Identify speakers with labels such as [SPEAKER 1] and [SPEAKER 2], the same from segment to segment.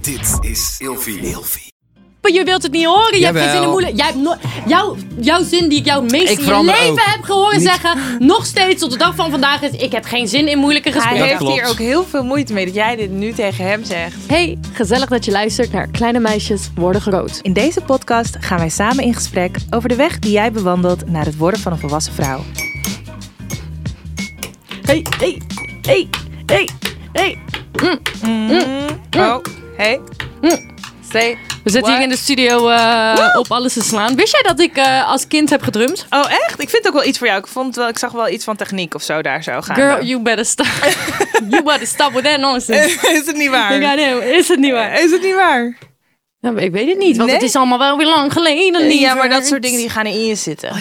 [SPEAKER 1] Dit is Ilfie. Ilfie.
[SPEAKER 2] Maar je wilt het niet horen. Je hebt geen
[SPEAKER 3] Jawel.
[SPEAKER 2] zin in moeilijk. Jij hebt no- jouw, jouw zin die ik jou het meest
[SPEAKER 3] Ik
[SPEAKER 2] in je
[SPEAKER 3] verander
[SPEAKER 2] leven
[SPEAKER 3] ook.
[SPEAKER 2] heb gehoord
[SPEAKER 3] Niet-
[SPEAKER 2] zeggen. Nog steeds tot de dag van vandaag is. Ik heb geen zin in moeilijke
[SPEAKER 4] Hij
[SPEAKER 2] gesprekken.
[SPEAKER 4] heeft
[SPEAKER 3] klopt.
[SPEAKER 4] hier ook heel veel moeite mee dat jij dit nu tegen hem zegt.
[SPEAKER 2] Hey, gezellig dat je luistert naar Kleine Meisjes Worden Groot.
[SPEAKER 4] In deze podcast gaan wij samen in gesprek over de weg die jij bewandelt naar het worden van een volwassen vrouw.
[SPEAKER 2] Hey, hey, hey, hey, hey.
[SPEAKER 4] Mm, Oh, hey. Mm. Say.
[SPEAKER 2] We zitten hier in de studio eh, op alles te slaan. Wist jij dat ik eh, als kind heb gedrumd?
[SPEAKER 4] Oh, echt? Ik vind het ook wel iets voor jou. Ik, vond wel, ik zag wel iets van techniek of zo daar zo gaan.
[SPEAKER 2] Girl, you better stop. you better stop with that nonsense.
[SPEAKER 4] Is het niet
[SPEAKER 2] Ik
[SPEAKER 4] waar?
[SPEAKER 2] ga nee, is het niet waar?
[SPEAKER 4] Is het niet waar?
[SPEAKER 2] Nou, ik weet het niet, want
[SPEAKER 4] Eh. Nee?
[SPEAKER 2] het is allemaal wel weer lang geleden.
[SPEAKER 4] Ja, maar dat
[SPEAKER 2] lieverd.
[SPEAKER 4] soort dingen die gaan in je zitten.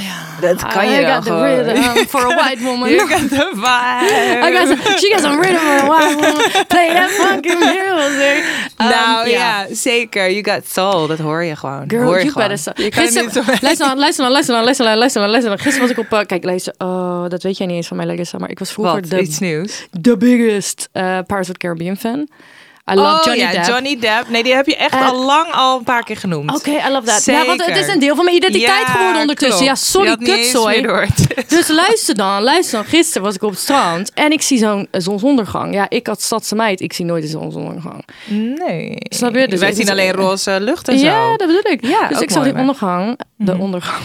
[SPEAKER 4] Dat kan
[SPEAKER 2] I
[SPEAKER 4] je wel
[SPEAKER 2] got the
[SPEAKER 4] gewoon.
[SPEAKER 2] rhythm for a white woman.
[SPEAKER 4] You got the vibe.
[SPEAKER 2] I got some, she got some rhythm for a white woman. Play that fucking music. Um,
[SPEAKER 4] nou
[SPEAKER 2] ja.
[SPEAKER 4] ja, zeker. You got soul. Dat hoor je gewoon.
[SPEAKER 2] Girl,
[SPEAKER 4] hoor je
[SPEAKER 2] you
[SPEAKER 4] gewoon.
[SPEAKER 2] better stop.
[SPEAKER 4] Je kan
[SPEAKER 2] Gisteren-
[SPEAKER 4] niet zo...
[SPEAKER 2] Luister dan, luister dan, luister dan, luister dan, luister dan, luister dan. Gisteren was ik op... eh, kijk, luister. Oh, dat weet jij niet eens van mij, Larissa. Maar ik was vroeger
[SPEAKER 4] Wat? Iets
[SPEAKER 2] de,
[SPEAKER 4] nieuws?
[SPEAKER 2] de biggest eh Pirates of the Caribbean fan. I love Johnny
[SPEAKER 4] Oh, ja,
[SPEAKER 2] Depp.
[SPEAKER 4] Johnny Depp. Nee, die heb je echt
[SPEAKER 2] Eh,
[SPEAKER 4] al lang al een paar keer genoemd.
[SPEAKER 2] Oké, I love that. Ja, want het
[SPEAKER 4] Zeker.
[SPEAKER 2] is een deel van mijn identiteit
[SPEAKER 4] Ja,
[SPEAKER 2] geworden ondertussen.
[SPEAKER 4] klopt.
[SPEAKER 2] Ja,
[SPEAKER 4] Je
[SPEAKER 2] sorry,
[SPEAKER 4] had niet eens
[SPEAKER 2] kutzooi.
[SPEAKER 4] meer door het.
[SPEAKER 2] Dus luister dan, luister dan. Gisteren was ik op het strand en ik zie zo'n eh, zonsondergang. Ja, ik had stadse meid, ik zie nooit een zonsondergang.
[SPEAKER 4] Nee.
[SPEAKER 2] Snap je? Dus
[SPEAKER 4] Wij
[SPEAKER 2] het is-
[SPEAKER 4] zien alleen roze lucht en
[SPEAKER 2] Ja,
[SPEAKER 4] zo.
[SPEAKER 2] dat bedoel ik.
[SPEAKER 4] Ja,
[SPEAKER 2] dus
[SPEAKER 4] ook
[SPEAKER 2] ik zag die
[SPEAKER 4] mooi, hè? Mhm.
[SPEAKER 2] ondergang, de ondergang.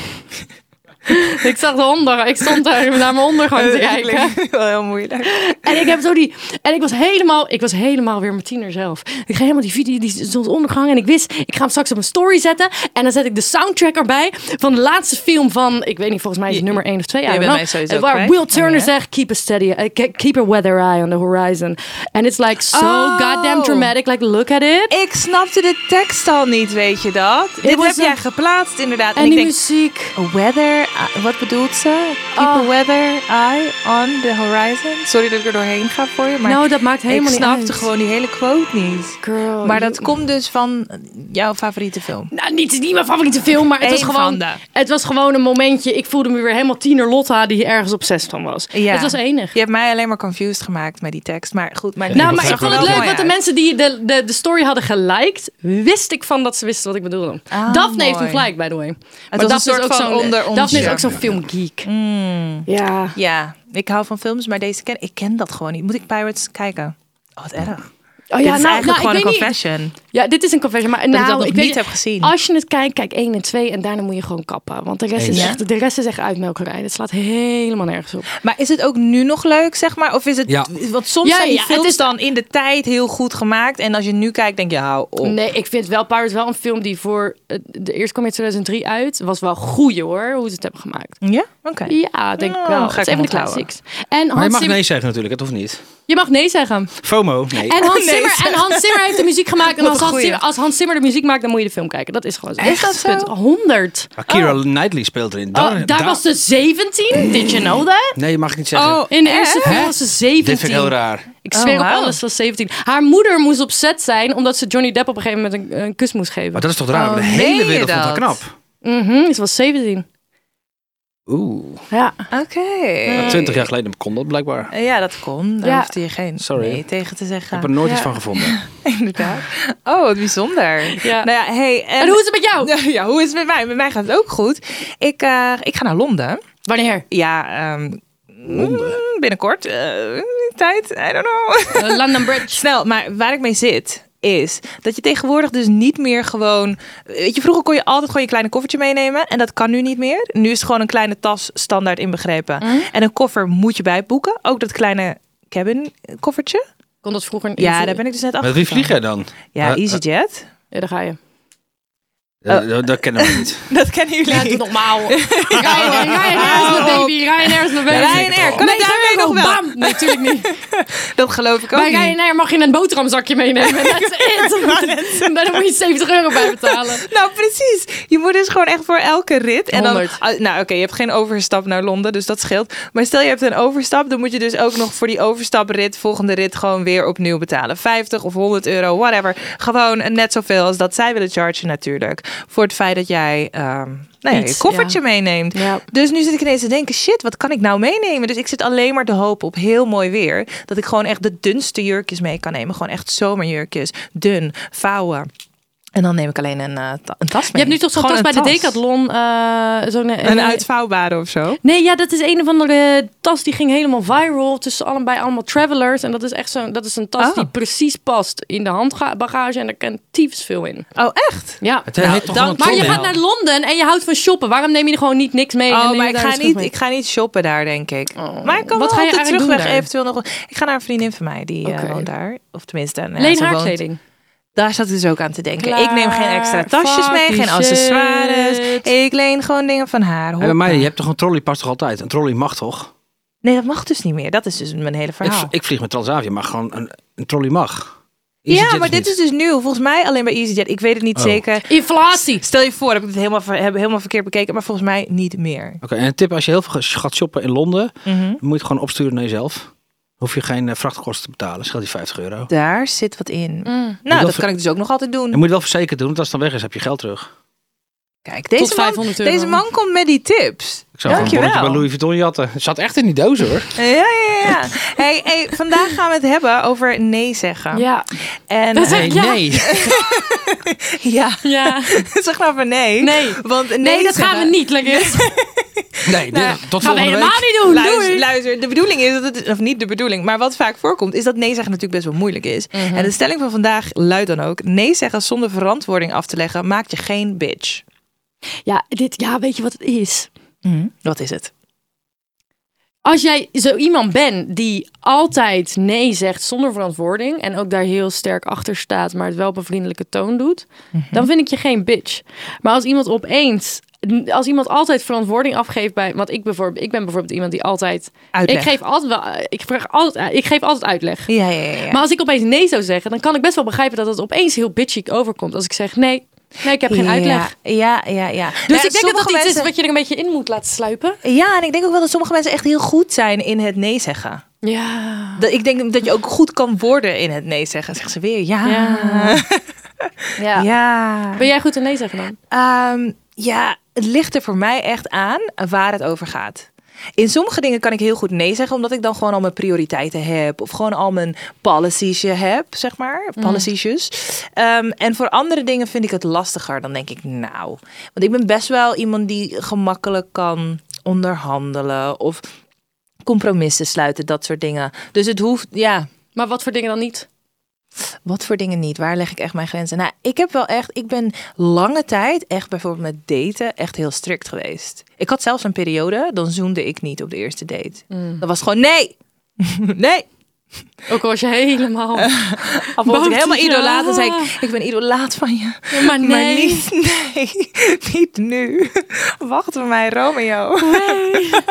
[SPEAKER 2] ik zag de ondergang, ik stond daar naar mijn ondergang te
[SPEAKER 4] Dat
[SPEAKER 2] kijken.
[SPEAKER 4] klinkt wel heel moeilijk.
[SPEAKER 2] En ik heb zo die. En ik was helemaal, ik was helemaal weer mijn tiener zelf. Ik ga helemaal die video, die zonsondergang. En ik wist, ik ga hem straks op mijn story zetten. En dan zet ik de soundtrack erbij van de laatste film van, ik weet niet, volgens mij is het
[SPEAKER 4] Je-
[SPEAKER 2] nummer 1 of 2.
[SPEAKER 4] jij bent mij sowieso
[SPEAKER 2] Waar
[SPEAKER 4] kwijt.
[SPEAKER 2] Will Turner
[SPEAKER 4] Oh, ja.
[SPEAKER 2] zegt, keep a steady, eh, ke- keep a weather eye on the horizon. And it's like so
[SPEAKER 4] Oh.
[SPEAKER 2] goddamn dramatic. Like look at it.
[SPEAKER 4] Ik snapte de tekst al niet, weet je dat? Dit
[SPEAKER 2] was
[SPEAKER 4] heb
[SPEAKER 2] een-
[SPEAKER 4] jij geplaatst inderdaad. En,
[SPEAKER 2] En
[SPEAKER 4] ik
[SPEAKER 2] die
[SPEAKER 4] denk,
[SPEAKER 2] muziek.
[SPEAKER 4] a weather, eye- wat bedoelt ze? Keep a
[SPEAKER 2] Oh.
[SPEAKER 4] weather eye on the horizon. Sorry dat ik er doorheen ga voor je, maar
[SPEAKER 2] Nou, dat maakt
[SPEAKER 4] ik
[SPEAKER 2] helemaal niet
[SPEAKER 4] snapte
[SPEAKER 2] uit.
[SPEAKER 4] gewoon die hele quote niet.
[SPEAKER 2] Girl,
[SPEAKER 4] Maar
[SPEAKER 2] you-
[SPEAKER 4] dat komt dus van jouw favoriete film.
[SPEAKER 2] Nou, niet, niet mijn favoriete film, maar het was,
[SPEAKER 4] Eén van
[SPEAKER 2] gewoon,
[SPEAKER 4] de.
[SPEAKER 2] het was gewoon een momentje. Ik voelde me weer helemaal tiener Lotta die ergens op zes van was.
[SPEAKER 4] Ja.
[SPEAKER 2] Het was enig.
[SPEAKER 4] Je hebt mij alleen maar confused gemaakt met die tekst. Maar goed, maar
[SPEAKER 2] Nou, maar
[SPEAKER 4] zag
[SPEAKER 2] ik
[SPEAKER 4] er
[SPEAKER 2] vond het
[SPEAKER 4] wel
[SPEAKER 2] leuk,
[SPEAKER 4] mooi
[SPEAKER 2] want de
[SPEAKER 4] uit.
[SPEAKER 2] mensen die de, de, de story hadden geliked, wist ik van dat ze wisten wat ik bedoelde.
[SPEAKER 4] Ah,
[SPEAKER 2] Daphne heeft hem
[SPEAKER 4] mooi.
[SPEAKER 2] geliked, by the way.
[SPEAKER 4] was een soort van
[SPEAKER 2] zo'n-
[SPEAKER 4] onder ons,
[SPEAKER 2] Daphne is
[SPEAKER 4] ja. Mm.
[SPEAKER 2] ook zo'n filmgeek. Ja. Oh
[SPEAKER 4] Ja, ik hou van films, maar deze ken ik ken dat gewoon niet. Moet ik Pirates kijken? Oh, wat erg.
[SPEAKER 2] Oh
[SPEAKER 4] Dit
[SPEAKER 2] ja,
[SPEAKER 4] is
[SPEAKER 2] nou,
[SPEAKER 4] eigenlijk
[SPEAKER 2] nou, ik
[SPEAKER 4] gewoon een
[SPEAKER 2] weet niet.
[SPEAKER 4] confession.
[SPEAKER 2] Ja, dit is een confession. Maar nou,
[SPEAKER 4] dat nog
[SPEAKER 2] ik
[SPEAKER 4] niet
[SPEAKER 2] weet,
[SPEAKER 4] heb gezien.
[SPEAKER 2] Als je het kijkt, kijk 1 en 2 en daarna moet je gewoon kappen. Want de rest, is
[SPEAKER 4] Ja?
[SPEAKER 2] echt, de rest is echt uitmelkerij. Dat slaat helemaal nergens op.
[SPEAKER 4] Maar is het ook nu nog leuk, zeg maar? Of is het...
[SPEAKER 3] Ja.
[SPEAKER 4] Want soms
[SPEAKER 2] Ja,
[SPEAKER 4] zijn die
[SPEAKER 2] ja, het
[SPEAKER 4] films
[SPEAKER 2] is-
[SPEAKER 4] dan in de tijd heel goed gemaakt. En als je nu kijkt, denk je, hou op.
[SPEAKER 2] Nee, ik vind wel Pirates wel een film die voor... eh, De eerste kwam in 2003 uit. Was wel goeie hoor, hoe ze het hebben gemaakt.
[SPEAKER 4] Ja? Oké.
[SPEAKER 2] Ja, denk ik
[SPEAKER 4] Nou,
[SPEAKER 2] wel.
[SPEAKER 4] ga
[SPEAKER 2] Het is
[SPEAKER 4] ik
[SPEAKER 2] even de
[SPEAKER 4] onthouden.
[SPEAKER 2] classics. En
[SPEAKER 3] Maar je
[SPEAKER 2] Hans
[SPEAKER 3] mag
[SPEAKER 2] Zimmer...
[SPEAKER 3] nee zeggen natuurlijk, het hoeft niet.
[SPEAKER 2] Je mag nee zeggen.
[SPEAKER 3] FOMO, nee.
[SPEAKER 2] En Hans,
[SPEAKER 4] Nee
[SPEAKER 2] Zimmer, en Hans Zimmer heeft de muziek gemaakt. En
[SPEAKER 4] Wat
[SPEAKER 2] als
[SPEAKER 4] een
[SPEAKER 2] Hans,
[SPEAKER 4] goeie.
[SPEAKER 2] Zimmer, als Hans Zimmer de muziek maakt, dan moet je de film kijken. Dat is gewoon zo.
[SPEAKER 4] Is dat zo?
[SPEAKER 2] Punt 100.
[SPEAKER 3] Akira Knightley speelt erin.
[SPEAKER 2] Oh,
[SPEAKER 3] Dan-
[SPEAKER 2] daar
[SPEAKER 3] da-
[SPEAKER 2] was ze 17. Did you know that?
[SPEAKER 3] Nee, mag ik niet zeggen.
[SPEAKER 4] Oh,
[SPEAKER 2] In de eerste
[SPEAKER 3] Hè?
[SPEAKER 2] film was ze 17.
[SPEAKER 3] Dit vind ik heel raar.
[SPEAKER 2] Ik zweer
[SPEAKER 4] Oh, wauw.
[SPEAKER 2] op alles, ze was 17. Haar moeder moest op set zijn omdat ze Johnny Depp op een gegeven moment een, een kus moest geven.
[SPEAKER 3] Maar dat is toch raar?
[SPEAKER 4] Oh,
[SPEAKER 3] de
[SPEAKER 4] meen
[SPEAKER 3] hele
[SPEAKER 4] je
[SPEAKER 3] wereld vond haar
[SPEAKER 4] dat?
[SPEAKER 3] knap.
[SPEAKER 2] Mhm, ze was 17.
[SPEAKER 3] Oeh.
[SPEAKER 2] Ja.
[SPEAKER 4] Oké.
[SPEAKER 3] Twintig jaar geleden kon dat blijkbaar. Ik
[SPEAKER 4] Ja, dat kon. Daar
[SPEAKER 2] Ja.
[SPEAKER 4] hoefde je geen
[SPEAKER 3] Sorry.
[SPEAKER 4] nee tegen te zeggen.
[SPEAKER 3] heb er nooit
[SPEAKER 2] Ja.
[SPEAKER 3] iets van gevonden.
[SPEAKER 4] Inderdaad. Oh, wat bijzonder.
[SPEAKER 2] Ja.
[SPEAKER 4] Nou ja, hey, en, Nou
[SPEAKER 2] En hoe is het met jou?
[SPEAKER 4] Ja, hoe is het met mij? Met mij gaat het ook goed. Ik, eh, ik ga naar Londen.
[SPEAKER 2] Wanneer?
[SPEAKER 4] Ja, ehm,
[SPEAKER 3] Londen.
[SPEAKER 4] mm, binnenkort. eh, tijd, I don't know.
[SPEAKER 2] Eh, London Bridge.
[SPEAKER 4] Snel, maar waar ik mee zit is dat je tegenwoordig dus niet meer gewoon... Weet je, vroeger kon je altijd gewoon je kleine koffertje meenemen. En dat kan nu niet meer. Nu is het gewoon een kleine tas standaard inbegrepen. En een koffer moet je bijboeken. Ook dat kleine cabin koffertje.
[SPEAKER 2] Kon dat vroeger niet?
[SPEAKER 4] Ja, daar ben ik dus net achter.
[SPEAKER 3] Met wie vlieg jij dan?
[SPEAKER 4] Ja,
[SPEAKER 3] Eh, eh,
[SPEAKER 4] EasyJet.
[SPEAKER 2] Ja, daar ga je.
[SPEAKER 3] eh, dat- dat kennen we niet.
[SPEAKER 4] Dat kennen jullie
[SPEAKER 2] Ja, doe normaal. Ryanair Ryanair is mijn baby. Ryanair is mijn baby.
[SPEAKER 4] Ryanair, kan
[SPEAKER 2] Nee,
[SPEAKER 4] ik
[SPEAKER 2] Virgo,
[SPEAKER 4] daarmee nog wel?
[SPEAKER 2] Bam! Nee, natuurlijk niet.
[SPEAKER 4] Dat geloof ik ook
[SPEAKER 2] Bij
[SPEAKER 4] niet.
[SPEAKER 2] Ryanair mag je een boterhamzakje meenemen. That's it. En Daar moet je 70 euro bij betalen.
[SPEAKER 4] Nou, precies. Je moet dus gewoon echt voor elke rit. En dan,
[SPEAKER 2] 100.
[SPEAKER 4] ah, nou, oké, je hebt geen overstap naar Londen, dus dat scheelt. Maar stel je hebt een overstap, dan moet je dus ook nog voor die overstaprit, volgende rit, gewoon weer opnieuw betalen. 50 of 100 euro, whatever. Gewoon net zoveel als dat zij willen chargen, natuurlijk. voor het feit dat jij ehm nou ja,
[SPEAKER 2] Iets,
[SPEAKER 4] je koffertje
[SPEAKER 2] ja.
[SPEAKER 4] meeneemt.
[SPEAKER 2] Ja.
[SPEAKER 4] Dus nu zit ik ineens te denken, shit, wat kan ik nou meenemen? Dus ik zit alleen maar te hopen op heel mooi weer. Dat ik gewoon echt de dunste jurkjes mee kan nemen. Gewoon echt zomerjurkjes. Dun, vouwen. En dan neem ik alleen een, eh, ta- een tas
[SPEAKER 2] Je
[SPEAKER 4] mee.
[SPEAKER 2] hebt nu toch zo'n
[SPEAKER 4] Gewoon
[SPEAKER 2] tas bij
[SPEAKER 4] een
[SPEAKER 2] de Decathlon. eh zo'n, eh,
[SPEAKER 4] Een uitvouwbare of zo.
[SPEAKER 2] Nee, ja, dat is een of andere tas die ging helemaal viral tussen allebei allemaal travelers. En dat is echt zo'n, dat is een tas
[SPEAKER 4] Oh.
[SPEAKER 2] die precies past in de handbagage en daar kan tyfus veel in.
[SPEAKER 4] Oh, echt?
[SPEAKER 2] Ja.
[SPEAKER 3] Het heet
[SPEAKER 4] Nou,
[SPEAKER 3] toch
[SPEAKER 4] dan-
[SPEAKER 3] gewoon
[SPEAKER 2] Maar je
[SPEAKER 3] trolley?
[SPEAKER 2] gaat naar Londen en je houdt van shoppen. Waarom neem je er gewoon niet niks mee? en
[SPEAKER 4] Oh,
[SPEAKER 2] neem
[SPEAKER 4] maar
[SPEAKER 2] je
[SPEAKER 4] ik
[SPEAKER 2] daar
[SPEAKER 4] ga,
[SPEAKER 2] een schroef
[SPEAKER 4] niet, Oh.
[SPEAKER 2] mee?
[SPEAKER 4] ik ga niet shoppen daar, denk ik. maar ik
[SPEAKER 2] Wat ga
[SPEAKER 4] kan wel
[SPEAKER 2] je
[SPEAKER 4] op de
[SPEAKER 2] eigenlijk doen
[SPEAKER 4] terugweg
[SPEAKER 2] daar?
[SPEAKER 4] eventueel nog... Ik ga naar een vriendin van mij, die eh,
[SPEAKER 2] Oké.
[SPEAKER 4] woont daar. Of tenminste, nou ja,
[SPEAKER 2] Leen
[SPEAKER 4] ze
[SPEAKER 2] haar
[SPEAKER 4] woont-
[SPEAKER 2] kleding.
[SPEAKER 4] Daar zat ik dus ook aan te denken.
[SPEAKER 2] Klaar.
[SPEAKER 4] Ik neem geen extra tasjes
[SPEAKER 2] Fuck
[SPEAKER 4] mee,
[SPEAKER 2] die
[SPEAKER 4] geen
[SPEAKER 2] shit.
[SPEAKER 4] accessoires. Ik leen gewoon dingen van haar.
[SPEAKER 3] Hey, bij mij,
[SPEAKER 4] Hoppa.
[SPEAKER 3] je hebt toch een trolley past toch altijd? Een trolley mag toch?
[SPEAKER 4] Nee, dat mag dus niet meer. Dat is dus mijn hele
[SPEAKER 3] Ik,
[SPEAKER 4] verhaal.
[SPEAKER 3] ik vlieg met Transavia, maar gewoon een, een trolley mag.
[SPEAKER 4] ja,
[SPEAKER 3] EasyJet
[SPEAKER 4] maar dit
[SPEAKER 3] niet.
[SPEAKER 4] is dus nieuw. Volgens mij alleen bij EasyJet. Ik weet het niet
[SPEAKER 3] Oh.
[SPEAKER 4] zeker.
[SPEAKER 2] Inflatie.
[SPEAKER 4] Stel je voor, heb ik het helemaal, ver- heb ik helemaal verkeerd bekeken. Maar volgens mij niet meer.
[SPEAKER 3] Oké, en een tip, als je heel veel gaat shoppen in Londen,
[SPEAKER 4] Mhm.
[SPEAKER 3] moet je het gewoon opsturen naar jezelf. Hoef je geen eh, vrachtkosten te betalen, scheelt die 50 euro.
[SPEAKER 4] Daar zit wat in.
[SPEAKER 2] Mm.
[SPEAKER 4] Nou,
[SPEAKER 3] dat
[SPEAKER 4] dat
[SPEAKER 3] ver-
[SPEAKER 4] kan ik dus ook nog altijd doen.
[SPEAKER 3] Je moet het wel verzekerd doen, want als het dan weg is, heb je geld terug.
[SPEAKER 4] Kijk, deze man,
[SPEAKER 2] 500 euro.
[SPEAKER 4] deze man komt met die tips.
[SPEAKER 3] Ik zou gewoon een
[SPEAKER 4] Dankjewel.
[SPEAKER 3] bonnetje bij Louis Vuitton jatten. Het zat echt in die doos hoor.
[SPEAKER 4] Ja, ja, ja, ja. Hey, hey, vandaag gaan we het hebben over nee zeggen.
[SPEAKER 2] Ja.
[SPEAKER 4] En
[SPEAKER 2] Dat is echt- Ja.
[SPEAKER 4] ja,
[SPEAKER 2] ja.
[SPEAKER 4] zeg nou van nee.
[SPEAKER 2] Nee.
[SPEAKER 4] Want nee,
[SPEAKER 2] Nee, dat gaan
[SPEAKER 4] zeggen-
[SPEAKER 2] we niet lekker.
[SPEAKER 3] Nee, dit- tot
[SPEAKER 2] gaan we
[SPEAKER 3] volgende
[SPEAKER 2] helemaal
[SPEAKER 3] week.
[SPEAKER 2] niet doen.
[SPEAKER 4] Luister,
[SPEAKER 2] Doei.
[SPEAKER 4] luister, de bedoeling is dat het, of niet de bedoeling, maar wat vaak voorkomt, is dat nee zeggen natuurlijk best wel moeilijk is. En de stelling van vandaag luidt dan ook: nee zeggen zonder verantwoording af te leggen maakt je geen bitch.
[SPEAKER 2] Ja, dit, ja, weet je wat het is?
[SPEAKER 4] Wat is het?
[SPEAKER 2] Als jij zo iemand bent die altijd nee zegt zonder verantwoording en ook daar heel sterk achter staat, maar het wel op een vriendelijke toon doet,
[SPEAKER 4] Mhm.
[SPEAKER 2] dan vind ik je geen bitch. Maar als iemand opeens, als iemand altijd verantwoording afgeeft bij, want ik bijvoorbeeld, ik ben bijvoorbeeld iemand die altijd,
[SPEAKER 4] Uitleg.
[SPEAKER 2] ik geef altijd, wel- ik vraag altijd, ik geef altijd uitleg.
[SPEAKER 4] Ja, ja, ja. ja.
[SPEAKER 2] Maar als ik opeens nee zou zeggen, dan kan ik best wel begrijpen dat het opeens heel bitchy overkomt. Als ik zeg nee, nee, ik heb geen
[SPEAKER 4] Ja,
[SPEAKER 2] uitleg.
[SPEAKER 4] Ja, ja, ja.
[SPEAKER 2] Dus ik denk dat dat iets is wat je er een beetje in moet laten sluipen.
[SPEAKER 4] Ja, en ik denk ook wel dat sommige mensen echt heel goed zijn in het nee zeggen.
[SPEAKER 2] Ja.
[SPEAKER 4] Dat, ik denk dat je ook goed kan worden in het nee zeggen. Zegt ze weer ja.
[SPEAKER 2] Ja.
[SPEAKER 4] Ja. Ja.
[SPEAKER 2] Ah. Ben jij goed in nee zeggen dan?
[SPEAKER 4] Ehm, ja, het ligt er voor mij echt aan waar het over gaat. In sommige dingen kan ik heel goed nee zeggen, omdat ik dan gewoon al mijn prioriteiten heb. Of gewoon al mijn policies heb, zeg maar. Policies. Ehm, en voor andere dingen vind ik het lastiger. Dan denk ik, nou. Want ik ben best wel iemand die gemakkelijk kan onderhandelen. Of compromissen sluiten, dat soort dingen. Dus het hoeft, ja,
[SPEAKER 2] Maar wat voor dingen dan niet?
[SPEAKER 4] wat voor dingen niet? Waar leg ik echt mijn grenzen? Nou, ik heb wel echt, ik ben lange tijd echt bijvoorbeeld met daten echt heel strikt geweest. Ik had zelfs een periode, dan zoende ik niet op de eerste date.
[SPEAKER 2] Mm.
[SPEAKER 4] Dat was gewoon nee, nee.
[SPEAKER 2] Ook al was je helemaal.
[SPEAKER 4] Eh, Of was ik
[SPEAKER 2] Bovenste
[SPEAKER 4] helemaal
[SPEAKER 2] ja.
[SPEAKER 4] idolaat en zei ik, ik ben idolaat van je.
[SPEAKER 2] maar nee.
[SPEAKER 4] Maar niet, nee, niet nu. Wacht op mij, Romeo.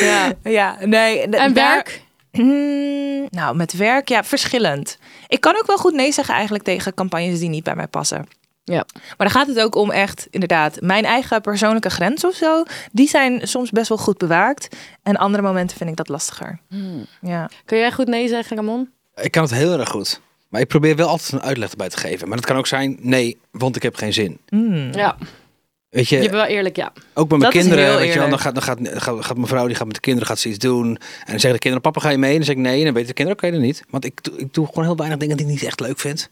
[SPEAKER 2] Ja.
[SPEAKER 4] Ja, nee. d-
[SPEAKER 2] En
[SPEAKER 4] Eh, daar-
[SPEAKER 2] werk?
[SPEAKER 4] Mm, nou, met werk, ja, verschillend. Ik kan ook wel goed nee zeggen eigenlijk tegen campagnes die niet bij mij passen.
[SPEAKER 2] Ja.
[SPEAKER 4] Maar dan gaat het ook om echt, inderdaad, mijn eigen persoonlijke grens of zo. Die zijn soms best wel goed bewaakt. En andere momenten vind ik dat lastiger. Ja.
[SPEAKER 2] Kun jij goed nee zeggen, Ramon?
[SPEAKER 3] Ik kan het heel erg goed. Maar ik probeer wel altijd een uitleg erbij te geven. Maar dat kan ook zijn, nee, want ik heb geen zin.
[SPEAKER 4] Hmm.
[SPEAKER 2] Ja.
[SPEAKER 3] Weet je,
[SPEAKER 2] Je bent wel eerlijk, ja.
[SPEAKER 3] ook bij mijn
[SPEAKER 4] Dat is heel
[SPEAKER 3] kinderen. Weet je wel, dan
[SPEAKER 4] eerlijk.
[SPEAKER 3] gaat, dan gaat, gaat, gaat mijn vrouw die gaat met de kinderen gaat ze iets doen. En dan zeggen de kinderen, papa ga je mee? En dan zeg ik nee. En dan weten de kinderen, oké, dan niet. Want ik, doe- ik doe gewoon heel weinig dingen die ik niet echt leuk vind.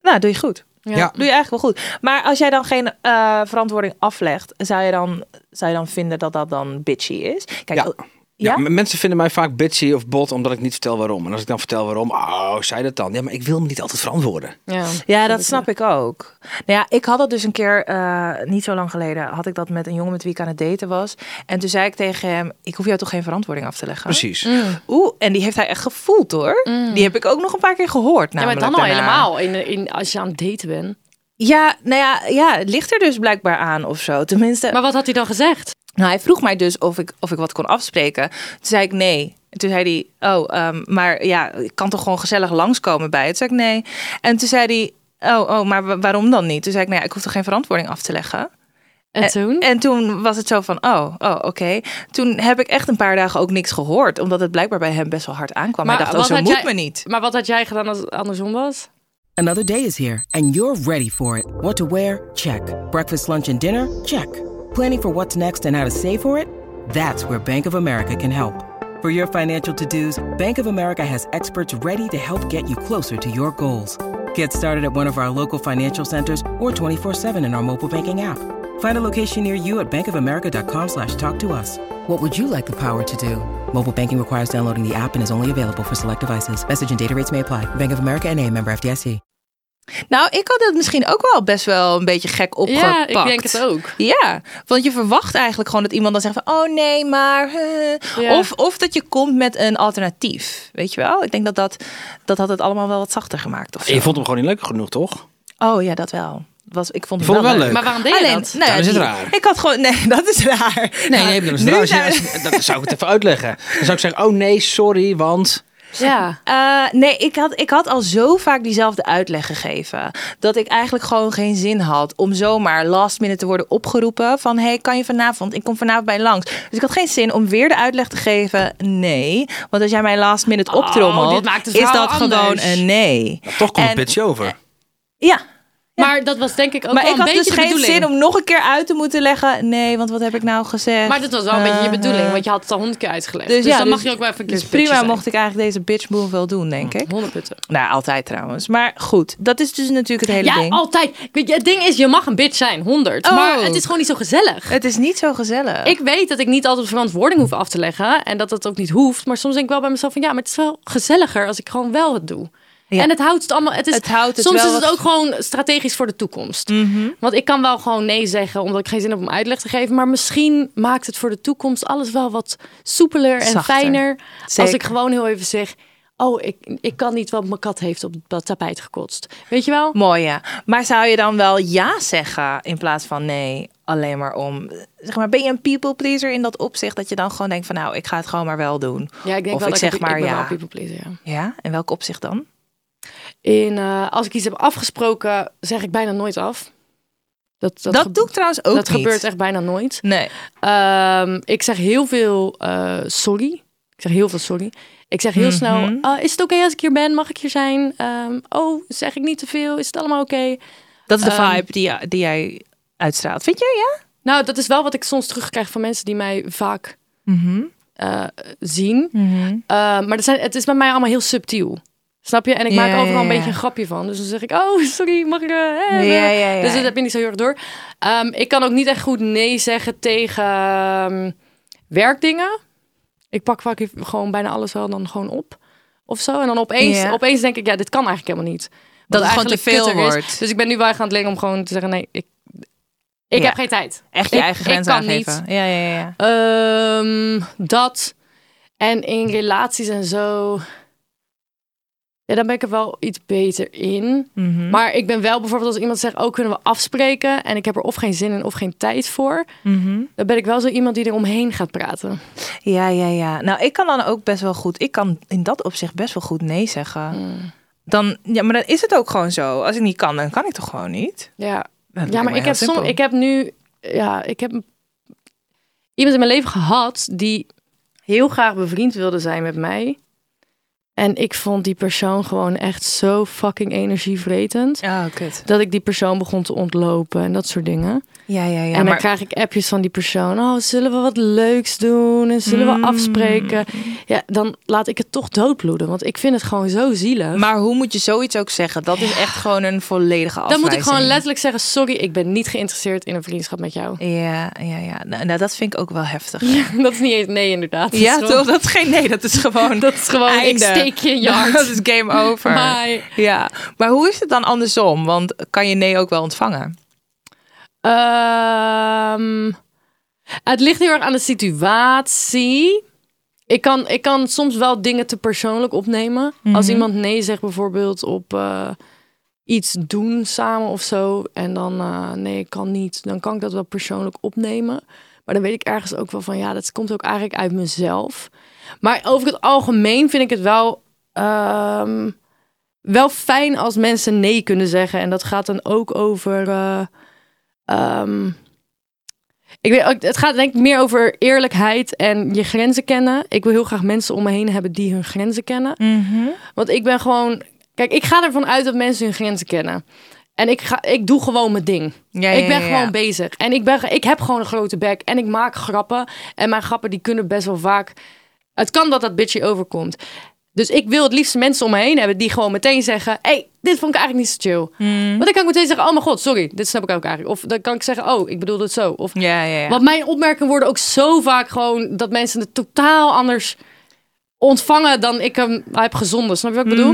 [SPEAKER 4] Nou, doe je goed.
[SPEAKER 2] Ja.
[SPEAKER 3] Ja.
[SPEAKER 4] Doe je eigenlijk wel goed. Maar als jij dan geen eh, verantwoording aflegt, zou je, dan, zou je dan vinden dat dat dan bitchy is? Kijk,
[SPEAKER 3] Ja.
[SPEAKER 4] oh,
[SPEAKER 3] Ja?
[SPEAKER 4] ja?
[SPEAKER 3] m- mensen vinden mij vaak bitchy of bot omdat ik niet vertel waarom. En als ik dan vertel waarom, oh, zei dat dan. Ja, maar ik wil me niet altijd verantwoorden.
[SPEAKER 2] ja.
[SPEAKER 4] Ja, dat snap ik ook. Nou ja, ik had dat dus een keer, eh, niet zo lang geleden, had ik dat met een jongen met wie ik aan het daten was. En toen zei ik tegen hem, ik hoef jou toch geen verantwoording af te leggen? Hmm.
[SPEAKER 3] Precies.
[SPEAKER 4] Oeh, en die heeft hij echt gevoeld hoor. Die heb ik ook nog een paar keer gehoord
[SPEAKER 2] Hmm. Ja, maar
[SPEAKER 4] namelijk
[SPEAKER 2] dan al
[SPEAKER 4] daarna.
[SPEAKER 2] helemaal. In, in, als je aan het daten bent.
[SPEAKER 4] Ja, nou ja, ja, het ligt er dus blijkbaar aan of zo. Tenminste,
[SPEAKER 2] Maar wat had hij dan gezegd?
[SPEAKER 4] nou, hij vroeg mij dus of ik, of ik wat kon afspreken. Toen zei ik nee. En toen zei hij, oh, ehm, maar ja, ik kan toch gewoon gezellig langskomen bij het? Toen zei ik nee. En toen zei hij, oh, oh, maar wa- waarom dan niet? Toen zei ik, nou ja, ik hoef toch geen verantwoording af te leggen? eh,
[SPEAKER 2] En toen?
[SPEAKER 4] En toen was het zo van, oh, oh oké. Toen heb ik echt een paar dagen ook niks gehoord. Omdat het blijkbaar bij hem best wel hard aankwam. Maar, hij dacht, oh,
[SPEAKER 2] wat
[SPEAKER 4] zo
[SPEAKER 2] had
[SPEAKER 4] moet
[SPEAKER 2] jij-
[SPEAKER 4] me niet.
[SPEAKER 2] Maar wat had jij gedaan als het andersom was?
[SPEAKER 5] Another day is here, and you're ready for it. What to wear? Check. Breakfast, lunch, and dinner? Check. Planning for what's next and how to save for it? That's where Bank of America can help. For your financial to dos, Bank of America has experts ready to help get you closer to your goals. Get started at one of our local financial centers or 24-7 in our mobile banking app. Find a location near you at bankofamerica.com slash talk to us. What would you like the power to do? Mobile banking requires downloading the app and is only available for select devices. Message and data rates may apply. Bank of America and a member FDIC.
[SPEAKER 4] Nou, ik had het misschien ook wel best wel een beetje gek opgepakt.
[SPEAKER 2] Ja, ik denk het ook.
[SPEAKER 4] Ja, want je verwacht eigenlijk gewoon dat iemand dan zegt van... oh nee, maar... eh.
[SPEAKER 2] Ja.
[SPEAKER 4] Of, of dat je komt met een alternatief, weet je wel? Ik denk dat dat, dat had het allemaal wel wat zachter gemaakt of zo.
[SPEAKER 3] Je vond hem gewoon niet leuk genoeg, toch?
[SPEAKER 4] Oh ja, dat wel. Was, ik vond
[SPEAKER 3] Je
[SPEAKER 4] het
[SPEAKER 3] vond hem
[SPEAKER 4] wel,
[SPEAKER 3] wel
[SPEAKER 4] leuk.
[SPEAKER 3] leuk.
[SPEAKER 2] Maar waarom deed je
[SPEAKER 4] Alleen,
[SPEAKER 2] dat?
[SPEAKER 4] nou ja,
[SPEAKER 3] Dan is het
[SPEAKER 4] die-
[SPEAKER 3] raar.
[SPEAKER 4] Ik had gewoon... Nee, dat is raar.
[SPEAKER 3] Nee,
[SPEAKER 4] Nou,
[SPEAKER 3] nee, dat, is
[SPEAKER 4] nu
[SPEAKER 3] raar. Als je-
[SPEAKER 4] zijn we-
[SPEAKER 3] als je- dat zou ik het even uitleggen. Dan zou ik zeggen, oh nee, sorry, want...
[SPEAKER 2] Ja.
[SPEAKER 4] Eh, nee, ik had, ik had al zo vaak diezelfde uitleg gegeven. Dat ik eigenlijk gewoon geen zin had om zomaar last minute te worden opgeroepen. Van hey, kan je vanavond? Ik kom vanavond bij je langs. Dus ik had geen zin om weer de uitleg te geven. Nee. Want als jij mij last minute
[SPEAKER 2] Oh,
[SPEAKER 4] optrommelt,
[SPEAKER 2] dit maakt het
[SPEAKER 4] is
[SPEAKER 2] verhaal
[SPEAKER 4] dat
[SPEAKER 2] anders.
[SPEAKER 4] gewoon een nee.
[SPEAKER 3] Toch komt
[SPEAKER 4] En-
[SPEAKER 3] het pitje over.
[SPEAKER 4] Ja.
[SPEAKER 2] Maar dat was denk ik ook
[SPEAKER 4] Maar
[SPEAKER 2] wel
[SPEAKER 4] ik
[SPEAKER 2] een
[SPEAKER 4] had
[SPEAKER 2] beetje
[SPEAKER 4] dus
[SPEAKER 2] de
[SPEAKER 4] geen
[SPEAKER 2] bedoeling.
[SPEAKER 4] zin om nog een keer uit te moeten leggen. Nee, want wat heb ik nou gezegd?
[SPEAKER 2] Maar dat was wel een beetje je
[SPEAKER 4] Eh,
[SPEAKER 2] bedoeling,
[SPEAKER 4] eh.
[SPEAKER 2] want je had het al honderd keer uitgelegd.
[SPEAKER 4] Dus
[SPEAKER 2] Dus,
[SPEAKER 4] ja,
[SPEAKER 2] dan
[SPEAKER 4] dus-
[SPEAKER 2] mag je ook wel even een keer
[SPEAKER 4] Dus prima mocht ik eigenlijk deze bitch move wel doen, denk ik.
[SPEAKER 2] 100 punten.
[SPEAKER 4] Nou, altijd trouwens. Maar goed, dat is dus natuurlijk het hele
[SPEAKER 2] Ja, oh.
[SPEAKER 4] ding.
[SPEAKER 2] altijd. Ik weet, het ding is, je mag een bitch zijn, 100.
[SPEAKER 4] Oh.
[SPEAKER 2] Maar het is gewoon niet zo gezellig.
[SPEAKER 4] Het is niet zo gezellig.
[SPEAKER 2] Ik weet dat ik niet altijd verantwoording hoef af te leggen en dat dat ook niet hoeft. Maar soms denk ik wel bij mezelf van ja, maar het is wel gezelliger als ik gewoon wel het doe.
[SPEAKER 4] Ja.
[SPEAKER 2] En het houdt het allemaal. Het is,
[SPEAKER 4] Het houdt het
[SPEAKER 2] soms
[SPEAKER 4] wel
[SPEAKER 2] is het
[SPEAKER 4] wat- Mhm.
[SPEAKER 2] ook gewoon strategisch voor de toekomst. Want ik kan wel gewoon nee zeggen omdat ik geen zin heb om uitleg te geven. Maar misschien maakt het voor de toekomst alles wel wat soepeler en
[SPEAKER 4] Zachter.
[SPEAKER 2] fijner. Als
[SPEAKER 4] Zeker.
[SPEAKER 2] ik gewoon heel even zeg. Oh, ik, ik kan niet, want mijn kat heeft op het tapijt gekotst. Weet je wel?
[SPEAKER 4] Mooi, ja. Maar zou je dan wel ja zeggen in plaats van nee? Alleen maar om, zeg maar, ben je een people pleaser in dat opzicht? Dat je dan gewoon denkt van, nou, ik ga het gewoon maar wel doen.
[SPEAKER 2] Ja, ik denk
[SPEAKER 4] of
[SPEAKER 2] wel
[SPEAKER 4] ik
[SPEAKER 2] dat
[SPEAKER 4] zeg
[SPEAKER 2] ik,
[SPEAKER 4] maar
[SPEAKER 2] ik ben wel
[SPEAKER 4] ja.
[SPEAKER 2] people pleaser, ja.
[SPEAKER 4] Ja, in welk opzicht dan?
[SPEAKER 2] In, eh, als ik iets heb afgesproken, zeg ik bijna nooit af. Dat,
[SPEAKER 4] Dat,
[SPEAKER 2] gebe-
[SPEAKER 4] doe ik trouwens ook
[SPEAKER 2] dat
[SPEAKER 4] niet.
[SPEAKER 2] gebeurt echt bijna nooit.
[SPEAKER 4] Nee.
[SPEAKER 2] Ehm, ik zeg heel veel eh, sorry. Ik zeg heel veel sorry. Ik zeg heel
[SPEAKER 4] Mhm.
[SPEAKER 2] snel, eh, is het oké als ik hier ben? Mag ik hier zijn? Ehm, oh, zeg ik niet te veel? Is het allemaal oké?
[SPEAKER 4] Dat is de
[SPEAKER 2] Ehm,
[SPEAKER 4] vibe die, die jij uitstraalt. Vind je, ja?
[SPEAKER 2] Nou, dat is wel wat ik soms terugkrijg van mensen die mij vaak
[SPEAKER 4] Mhm.
[SPEAKER 2] eh, zien. Eh, maar dat zijn, het is bij mij allemaal heel subtiel. Snap je? En ik
[SPEAKER 4] Ja,
[SPEAKER 2] maak overal
[SPEAKER 4] ja,
[SPEAKER 2] een beetje
[SPEAKER 4] ja.
[SPEAKER 2] een grapje van. Dus dan zeg ik, oh, sorry, mag ik... eh, eh, eh.
[SPEAKER 4] Ja, ja, ja.
[SPEAKER 2] Dus dat heb je niet zo heel erg door. Ehm, ik kan ook niet echt goed nee zeggen tegen ehm, werkdingen. Ik pak vaak even gewoon bijna alles wel dan gewoon op. Of zo. En dan opeens,
[SPEAKER 4] Ja.
[SPEAKER 2] opeens denk ik, ja, dit kan eigenlijk helemaal niet. Wat
[SPEAKER 4] het gewoon
[SPEAKER 2] eigenlijk
[SPEAKER 4] te veel
[SPEAKER 2] kutter is.
[SPEAKER 4] wordt.
[SPEAKER 2] Dus ik ben nu wel echt aan het leren om gewoon te zeggen, nee, ik, ik
[SPEAKER 4] Ja.
[SPEAKER 2] heb geen tijd.
[SPEAKER 4] Echt je
[SPEAKER 2] Ik-
[SPEAKER 4] eigen
[SPEAKER 2] ik
[SPEAKER 4] grenzen
[SPEAKER 2] kan
[SPEAKER 4] aangeven. Ja, ja, ja.
[SPEAKER 2] Ehm, dat. En in relaties en zo. Ja, daar ben ik er wel iets beter in.
[SPEAKER 4] Mhm.
[SPEAKER 2] Maar ik ben wel bijvoorbeeld als iemand zegt: Oh, kunnen we afspreken? En ik heb er of geen zin in of geen tijd voor.
[SPEAKER 4] Mhm.
[SPEAKER 2] Dan ben ik wel zo iemand die er omheen gaat praten.
[SPEAKER 4] Ja, ja, ja. Nou, ik kan dan ook best wel goed. Ik kan in dat opzicht best wel goed nee zeggen.
[SPEAKER 2] Mm.
[SPEAKER 4] Dan, ja, maar dan is het ook gewoon zo. Als ik niet kan, dan kan ik toch gewoon niet.
[SPEAKER 2] Ja,
[SPEAKER 4] lijkt
[SPEAKER 2] ja
[SPEAKER 4] mij
[SPEAKER 2] maar ik
[SPEAKER 4] heel
[SPEAKER 2] heb, som,
[SPEAKER 4] simpel.
[SPEAKER 2] ik heb nu. Ja, ik heb iemand in mijn leven gehad die heel graag bevriend wilde zijn met mij. En ik vond die persoon gewoon echt zo fucking energievretend.
[SPEAKER 4] Oh, kut.
[SPEAKER 2] dat ik die persoon begon te ontlopen en dat soort dingen.
[SPEAKER 4] Ja, ja, ja.
[SPEAKER 2] en dan
[SPEAKER 4] maar
[SPEAKER 2] krijg ik appjes van die persoon. Oh, zullen we wat leuks doen? En zullen
[SPEAKER 4] Mm.
[SPEAKER 2] we afspreken? Ja, dan laat ik het toch doodbloeden. Want ik vind het gewoon zo zielig.
[SPEAKER 4] Maar hoe moet je zoiets ook zeggen? Dat is echt gewoon een volledige
[SPEAKER 2] dan
[SPEAKER 4] afwijzing.
[SPEAKER 2] moet ik gewoon letterlijk zeggen... sorry, ik ben niet geïnteresseerd in een vriendschap met jou.
[SPEAKER 4] Ja, ja, ja. Nou, nou, dat vind ik ook wel heftig.
[SPEAKER 2] dat is niet eens... Nee, inderdaad. Dat
[SPEAKER 4] Ja,
[SPEAKER 2] is gewoon-
[SPEAKER 4] toch? Dat is geen nee, dat is gewoon...
[SPEAKER 2] Dat is gewoon, ik
[SPEAKER 4] einde.
[SPEAKER 2] steek je in je
[SPEAKER 4] Dat
[SPEAKER 2] hart.
[SPEAKER 4] is game over.
[SPEAKER 2] Bye.
[SPEAKER 4] Ja, maar hoe is het dan andersom? Want kan je nee ook wel ontvangen?
[SPEAKER 2] Ehm, het ligt heel erg aan de situatie. Ik kan, ik kan soms wel dingen te persoonlijk opnemen. Als iemand nee zegt bijvoorbeeld op eh, iets doen samen of zo. En dan eh, nee, ik kan niet. Dan kan ik dat wel persoonlijk opnemen. Maar dan weet ik ergens ook wel van ja, dat komt ook eigenlijk uit mezelf. Maar over het algemeen vind ik het wel. ehm, wel fijn als mensen nee kunnen zeggen. En dat gaat dan ook over. eh, ehm, ik weet, ook- het gaat denk ik meer over eerlijkheid en je
[SPEAKER 4] Mhm.
[SPEAKER 2] grenzen kennen. Ik wil heel graag mensen om me heen hebben die hun grenzen kennen. Want ik ben gewoon Kijk, ik ga ervan uit dat mensen hun grenzen kennen. En ik, ga, ik doe gewoon mijn ding.
[SPEAKER 4] Ja, ja,
[SPEAKER 2] ik ben
[SPEAKER 4] ja, ja.
[SPEAKER 2] gewoon bezig. En ik, ben, ik heb gewoon een grote bek. En ik maak grappen. En mijn grappen die kunnen best wel vaak... Het kan dat dat bitchy overkomt. Dus ik wil het liefst mensen om me heen hebben die gewoon meteen zeggen... hey, dit vond ik eigenlijk niet zo chill. Want dan kan ik meteen zeggen, oh mijn god, sorry. Dit snap ik ook eigenlijk. Of dan kan ik zeggen, oh, ik bedoel het zo. Of,
[SPEAKER 4] Ja, ja, ja.
[SPEAKER 2] Want mijn opmerkingen worden ook zo vaak gewoon... dat mensen het totaal anders ontvangen dan ik hem heb gezonden. Snap je wat ik bedoel?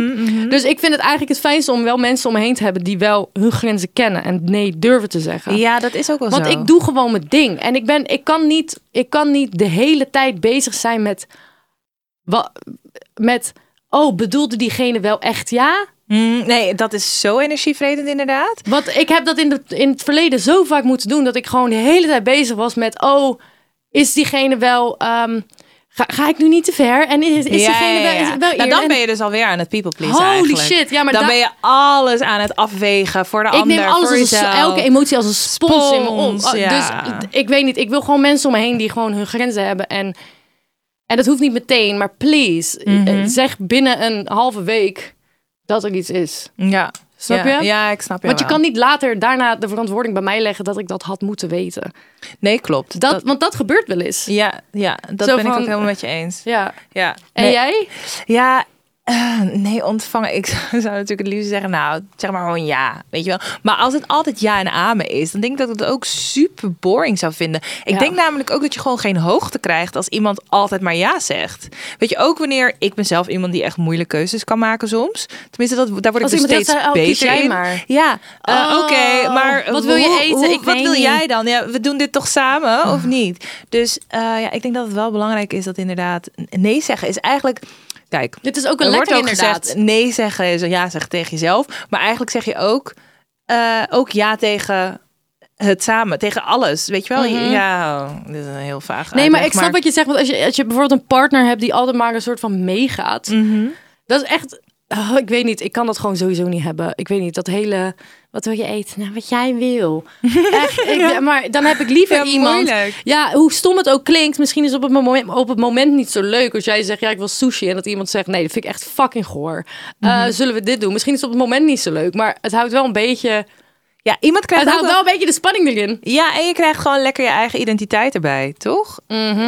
[SPEAKER 2] Dus ik vind het eigenlijk het fijnste om wel mensen om me heen te hebben die wel hun grenzen kennen en nee durven te zeggen.
[SPEAKER 4] ja, dat is ook wel
[SPEAKER 2] Want
[SPEAKER 4] zo.
[SPEAKER 2] ik doe gewoon mijn ding. En ik, ben, ik, kan niet, ik kan niet de hele tijd bezig zijn met. Wat, met oh, bedoelde diegene wel echt ja?
[SPEAKER 4] Mm, nee, dat is zo energievredend inderdaad.
[SPEAKER 2] Want ik heb dat in, de, in het verleden zo vaak moeten doen dat ik gewoon de hele tijd bezig was met: oh, is diegene wel. ehm, ga, ga ik nu niet te ver? En is, is diegene wel. Is, het wel
[SPEAKER 4] Nou,
[SPEAKER 2] eer?
[SPEAKER 4] dan
[SPEAKER 2] En-
[SPEAKER 4] ben je dus alweer aan het people please
[SPEAKER 2] Holy
[SPEAKER 4] eigenlijk.
[SPEAKER 2] shit, ja, maar
[SPEAKER 4] dan
[SPEAKER 2] da-
[SPEAKER 4] ben je alles aan het afwegen voor de
[SPEAKER 2] Ik
[SPEAKER 4] ander.
[SPEAKER 2] neem alles
[SPEAKER 4] voor
[SPEAKER 2] als een,
[SPEAKER 4] jezelf.
[SPEAKER 2] elke emotie als een spons, in me om.
[SPEAKER 4] Spons,
[SPEAKER 2] Oh,
[SPEAKER 4] ja.
[SPEAKER 2] Dus d- ik weet niet. Ik wil gewoon mensen om me heen die gewoon hun grenzen hebben. En, en dat hoeft niet meteen, maar please.
[SPEAKER 4] Mhm.
[SPEAKER 2] eh, Zeg binnen een halve week dat er iets is.
[SPEAKER 4] Ja.
[SPEAKER 2] Snap
[SPEAKER 4] ja.
[SPEAKER 2] je?
[SPEAKER 4] Ja, ik snap je
[SPEAKER 2] Want je
[SPEAKER 4] wel.
[SPEAKER 2] kan niet later daarna de verantwoording bij mij leggen dat ik dat had moeten weten.
[SPEAKER 4] Nee, klopt.
[SPEAKER 2] Dat, want dat gebeurt wel eens. Ja.
[SPEAKER 4] Ja, ja dat
[SPEAKER 2] Zo
[SPEAKER 4] ben ik ook
[SPEAKER 2] van-
[SPEAKER 4] helemaal met je eens. Ja.
[SPEAKER 2] En
[SPEAKER 4] Nee.
[SPEAKER 2] jij?
[SPEAKER 4] Ja, eh, nee, ontvangen. Ik zou natuurlijk het liefst zeggen, nou, zeg maar gewoon ja, weet je wel. Maar als het altijd ja en amen is, dan denk ik dat ik het ook super boring zou vinden. Ik
[SPEAKER 2] Ja.
[SPEAKER 4] denk namelijk ook dat je gewoon geen hoogte krijgt als iemand altijd maar ja zegt. Weet je, ook wanneer ik ben zelf iemand die echt moeilijke keuzes kan maken soms. Tenminste, dat, daar word
[SPEAKER 2] Als
[SPEAKER 4] ik dus
[SPEAKER 2] iemand
[SPEAKER 4] steeds
[SPEAKER 2] dat zei, oh, kies
[SPEAKER 4] beter
[SPEAKER 2] er één
[SPEAKER 4] in.
[SPEAKER 2] maar.
[SPEAKER 4] Ja, eh,
[SPEAKER 2] Oh,
[SPEAKER 4] oké, maar
[SPEAKER 2] wat wil je
[SPEAKER 4] hoe-
[SPEAKER 2] eten?
[SPEAKER 4] hoe-
[SPEAKER 2] Ik
[SPEAKER 4] wat
[SPEAKER 2] weet
[SPEAKER 4] wil
[SPEAKER 2] niet.
[SPEAKER 4] jij dan? Ja, we doen dit toch samen
[SPEAKER 2] Ah.
[SPEAKER 4] of niet? Dus eh, ja, ik denk dat het wel belangrijk is dat inderdaad nee zeggen is eigenlijk. Kijk,
[SPEAKER 2] Dit is ook een
[SPEAKER 4] er wordt
[SPEAKER 2] lekker
[SPEAKER 4] ook
[SPEAKER 2] inderdaad.
[SPEAKER 4] gezegd, nee zeggen is een ja zeggen tegen jezelf. Maar eigenlijk zeg je ook, eh, ook ja tegen het samen, tegen alles. Weet je wel? Ja, dit is een heel vaag
[SPEAKER 2] Mhm. Nee, maar ik
[SPEAKER 4] uitleg,
[SPEAKER 2] snap wat je zegt. Want als je, als je bijvoorbeeld een partner hebt die altijd maar een soort van meegaat. Dat is echt... oh, ik weet niet, ik kan dat gewoon sowieso niet hebben. Ik weet niet, dat hele... Wat wil je eten? Nou, wat jij wil. Echt, ik, Maar dan heb ik liever
[SPEAKER 4] Ja,
[SPEAKER 2] iemand...
[SPEAKER 4] moeilijk.
[SPEAKER 2] Ja, hoe stom het ook klinkt. Misschien is het op het, moment, op het moment niet zo leuk. Als jij zegt, ja, ik wil sushi. En dat iemand zegt, nee, dat vind ik echt fucking goor. Eh, Zullen we dit doen? Misschien is het op het moment niet zo leuk. Maar het houdt wel een beetje...
[SPEAKER 4] Ja, iemand krijgt
[SPEAKER 2] Het
[SPEAKER 4] ook
[SPEAKER 2] houdt wel een beetje de spanning erin.
[SPEAKER 4] Ja, en je krijgt gewoon lekker je eigen identiteit erbij, toch?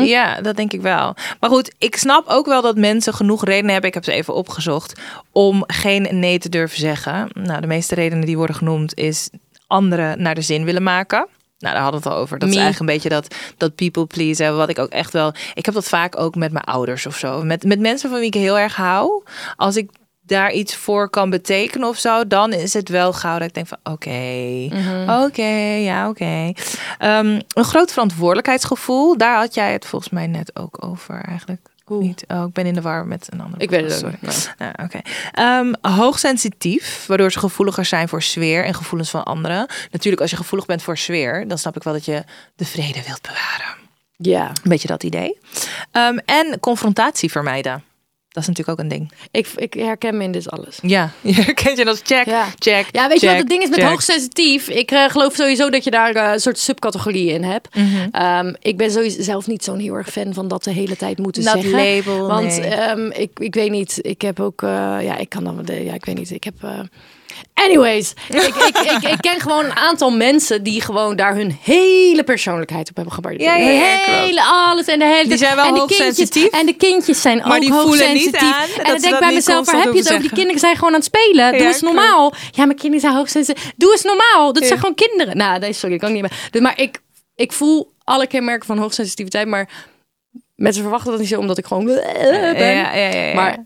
[SPEAKER 4] Ja, dat denk ik wel. Maar goed, ik snap ook wel dat mensen genoeg redenen hebben. Ik heb ze even opgezocht om geen nee te durven zeggen. Nou, de meeste redenen die worden genoemd is anderen naar de zin willen maken. Nou, daar hadden we het al over. Dat is
[SPEAKER 2] Me.
[SPEAKER 4] eigenlijk een beetje dat, dat people pleasen. Wat ik ook echt wel... Ik heb dat vaak ook met mijn ouders of zo. Met, met mensen van wie ik heel erg hou. Als ik daar iets voor kan betekenen of zo, dan is het wel gauw dat ik denk van oké,
[SPEAKER 2] Mhm.
[SPEAKER 4] oké, ja oké. Ehm, een groot verantwoordelijkheidsgevoel, daar had jij het volgens mij net ook over eigenlijk. Niet. Oh, ik ben in de war met een andere.
[SPEAKER 2] Ik weet het
[SPEAKER 4] podcast,
[SPEAKER 2] ook niet,
[SPEAKER 4] sorry. Nou, oké. Ehm, hoogsensitief, waardoor ze gevoeliger zijn voor sfeer en gevoelens van anderen. Natuurlijk, als je gevoelig bent voor sfeer, dan snap ik wel dat je de vrede wilt bewaren.
[SPEAKER 2] Ja.
[SPEAKER 4] Een beetje dat idee. Ehm, en confrontatie vermijden. Dat is natuurlijk ook een ding.
[SPEAKER 2] Ik, ik herken me in dit alles.
[SPEAKER 4] Ja, je herkent je dat check,
[SPEAKER 2] Ja.
[SPEAKER 4] check.
[SPEAKER 2] Ja, weet je
[SPEAKER 4] check,
[SPEAKER 2] wat het ding is met
[SPEAKER 4] check.
[SPEAKER 2] hoogsensitief? Ik eh, geloof sowieso dat je daar eh, een soort subcategorieën in hebt.
[SPEAKER 4] Mhm.
[SPEAKER 2] Ehm, ik ben sowieso zelf niet zo'n heel erg fan van dat de hele tijd moeten
[SPEAKER 4] Dat
[SPEAKER 2] zeggen.
[SPEAKER 4] label,
[SPEAKER 2] want
[SPEAKER 4] nee.
[SPEAKER 2] ehm, ik, ik weet niet, ik heb ook, eh, ja, ik kan dan, de- ja, ik weet niet, ik heb. eh, Anyways, ik, ik, ik, ik ken gewoon een aantal mensen die gewoon daar hun hele persoonlijkheid op hebben gebaseerd.
[SPEAKER 4] Ja, ja, ja,
[SPEAKER 2] hele alles en de hele.
[SPEAKER 4] Die zijn wel
[SPEAKER 2] en de
[SPEAKER 4] hoogsensitief.
[SPEAKER 2] kindjes- En de kindjes zijn
[SPEAKER 4] Maar
[SPEAKER 2] ook
[SPEAKER 4] die voelen niet
[SPEAKER 2] hoogsensitief.
[SPEAKER 4] aan dat
[SPEAKER 2] en
[SPEAKER 4] ze
[SPEAKER 2] dan denk
[SPEAKER 4] dat
[SPEAKER 2] ik bij
[SPEAKER 4] niet
[SPEAKER 2] mezelf, waar
[SPEAKER 4] constant
[SPEAKER 2] heb je het
[SPEAKER 4] hoeven
[SPEAKER 2] over? Die
[SPEAKER 4] zeggen.
[SPEAKER 2] kinderen zijn gewoon aan het spelen. Doe
[SPEAKER 4] Ja,
[SPEAKER 2] eens normaal. Ja, mijn kinderen zijn hoogsensitief. Doe eens normaal. Dat
[SPEAKER 4] Ja.
[SPEAKER 2] zijn gewoon kinderen. Nou, nee, sorry, ik kan ik niet meer. Dus, maar ik, ik voel alle kenmerken van hoogsensitiviteit, maar mensen verwachten dat niet zo, omdat ik gewoon eh, ben.
[SPEAKER 4] Ja, ja, ja, ja.
[SPEAKER 2] Maar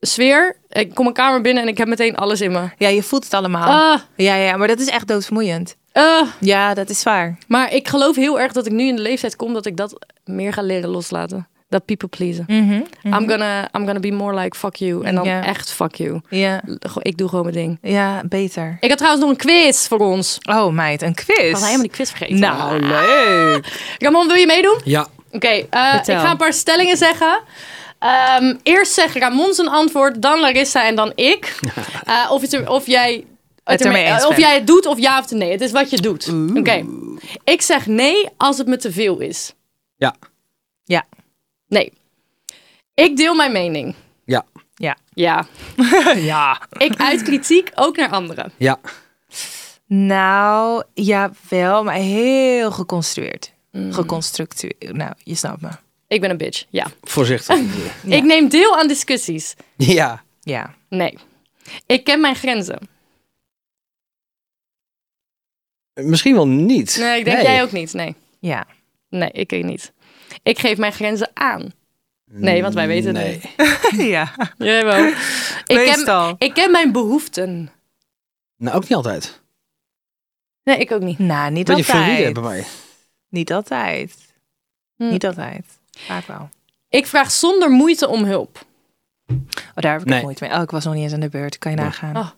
[SPEAKER 2] sfeer, ik kom mijn kamer binnen en ik heb meteen alles in me.
[SPEAKER 4] Ja, je voelt het allemaal.
[SPEAKER 2] Ah.
[SPEAKER 4] Ja, ja, maar dat is echt doodvermoeiend.
[SPEAKER 2] Eh,
[SPEAKER 4] Ja, dat is waar.
[SPEAKER 2] maar ik geloof heel erg dat ik nu in de leeftijd kom dat ik dat meer ga leren loslaten. Dat people pleasen. I'm, gonna, I'm gonna be more like fuck you. En dan
[SPEAKER 4] Mhm, Ja.
[SPEAKER 2] echt fuck you.
[SPEAKER 4] Ja,
[SPEAKER 2] Gewoon, Ik doe gewoon mijn ding.
[SPEAKER 4] ja beter.
[SPEAKER 2] Ik had trouwens nog een quiz voor ons. Ik
[SPEAKER 4] Oh, meid, een quiz.
[SPEAKER 2] had helemaal die quiz vergeten. Oh,
[SPEAKER 4] Nou, leuk.
[SPEAKER 2] Ramon, wil je meedoen?
[SPEAKER 3] Ja.
[SPEAKER 2] Oké, eh,
[SPEAKER 4] Vertel.
[SPEAKER 2] ik ga een paar stellingen zeggen. Ehm, eerst zeg Ramon zijn antwoord, dan Larissa en dan ik. Eh, of, het er- of jij
[SPEAKER 4] Het ermee eens
[SPEAKER 2] of
[SPEAKER 4] bent.
[SPEAKER 2] jij het doet of ja of nee. Het is wat je doet. Oké. Ik zeg nee als het me te veel is.
[SPEAKER 3] Ja.
[SPEAKER 4] Ja,
[SPEAKER 2] Nee. Ik deel mijn mening.
[SPEAKER 3] Ja.
[SPEAKER 4] Ja.
[SPEAKER 2] Ja,
[SPEAKER 4] ja.
[SPEAKER 2] ik uit kritiek ook naar anderen.
[SPEAKER 3] Ja.
[SPEAKER 4] Nou, jawel, maar heel geconstrueerd. Geconstructueerd. Nou, je snapt me.
[SPEAKER 2] Ik ben een bitch, ja.
[SPEAKER 3] Voorzichtig.
[SPEAKER 2] Ik neem deel aan discussies.
[SPEAKER 3] ja.
[SPEAKER 4] Ja.
[SPEAKER 2] Nee. Ik ken mijn grenzen.
[SPEAKER 3] Misschien wel niet.
[SPEAKER 2] Nee, ik denk jij ook niet. Nee.
[SPEAKER 4] Ja.
[SPEAKER 2] Nee, ik ook niet. Ik geef mijn grenzen aan. Nee, want wij weten het
[SPEAKER 3] Nee.
[SPEAKER 2] niet.
[SPEAKER 4] ja.
[SPEAKER 2] Jij wel. Ik ken,
[SPEAKER 4] Meestal.
[SPEAKER 2] ik ken mijn behoeften.
[SPEAKER 3] Nou, ook niet altijd.
[SPEAKER 2] Nee, ik ook niet.
[SPEAKER 4] Nou, niet
[SPEAKER 3] Beetje fluïde
[SPEAKER 4] altijd.
[SPEAKER 3] bij mij.
[SPEAKER 4] Niet altijd.
[SPEAKER 2] Hm.
[SPEAKER 4] Niet altijd. Vaak wel.
[SPEAKER 2] Ik vraag zonder moeite om hulp.
[SPEAKER 4] Oh, daar heb ik
[SPEAKER 3] Nee.
[SPEAKER 4] moeite mee. Oh, ik was nog niet eens aan de beurt. Kan je nagaan.
[SPEAKER 2] Oh.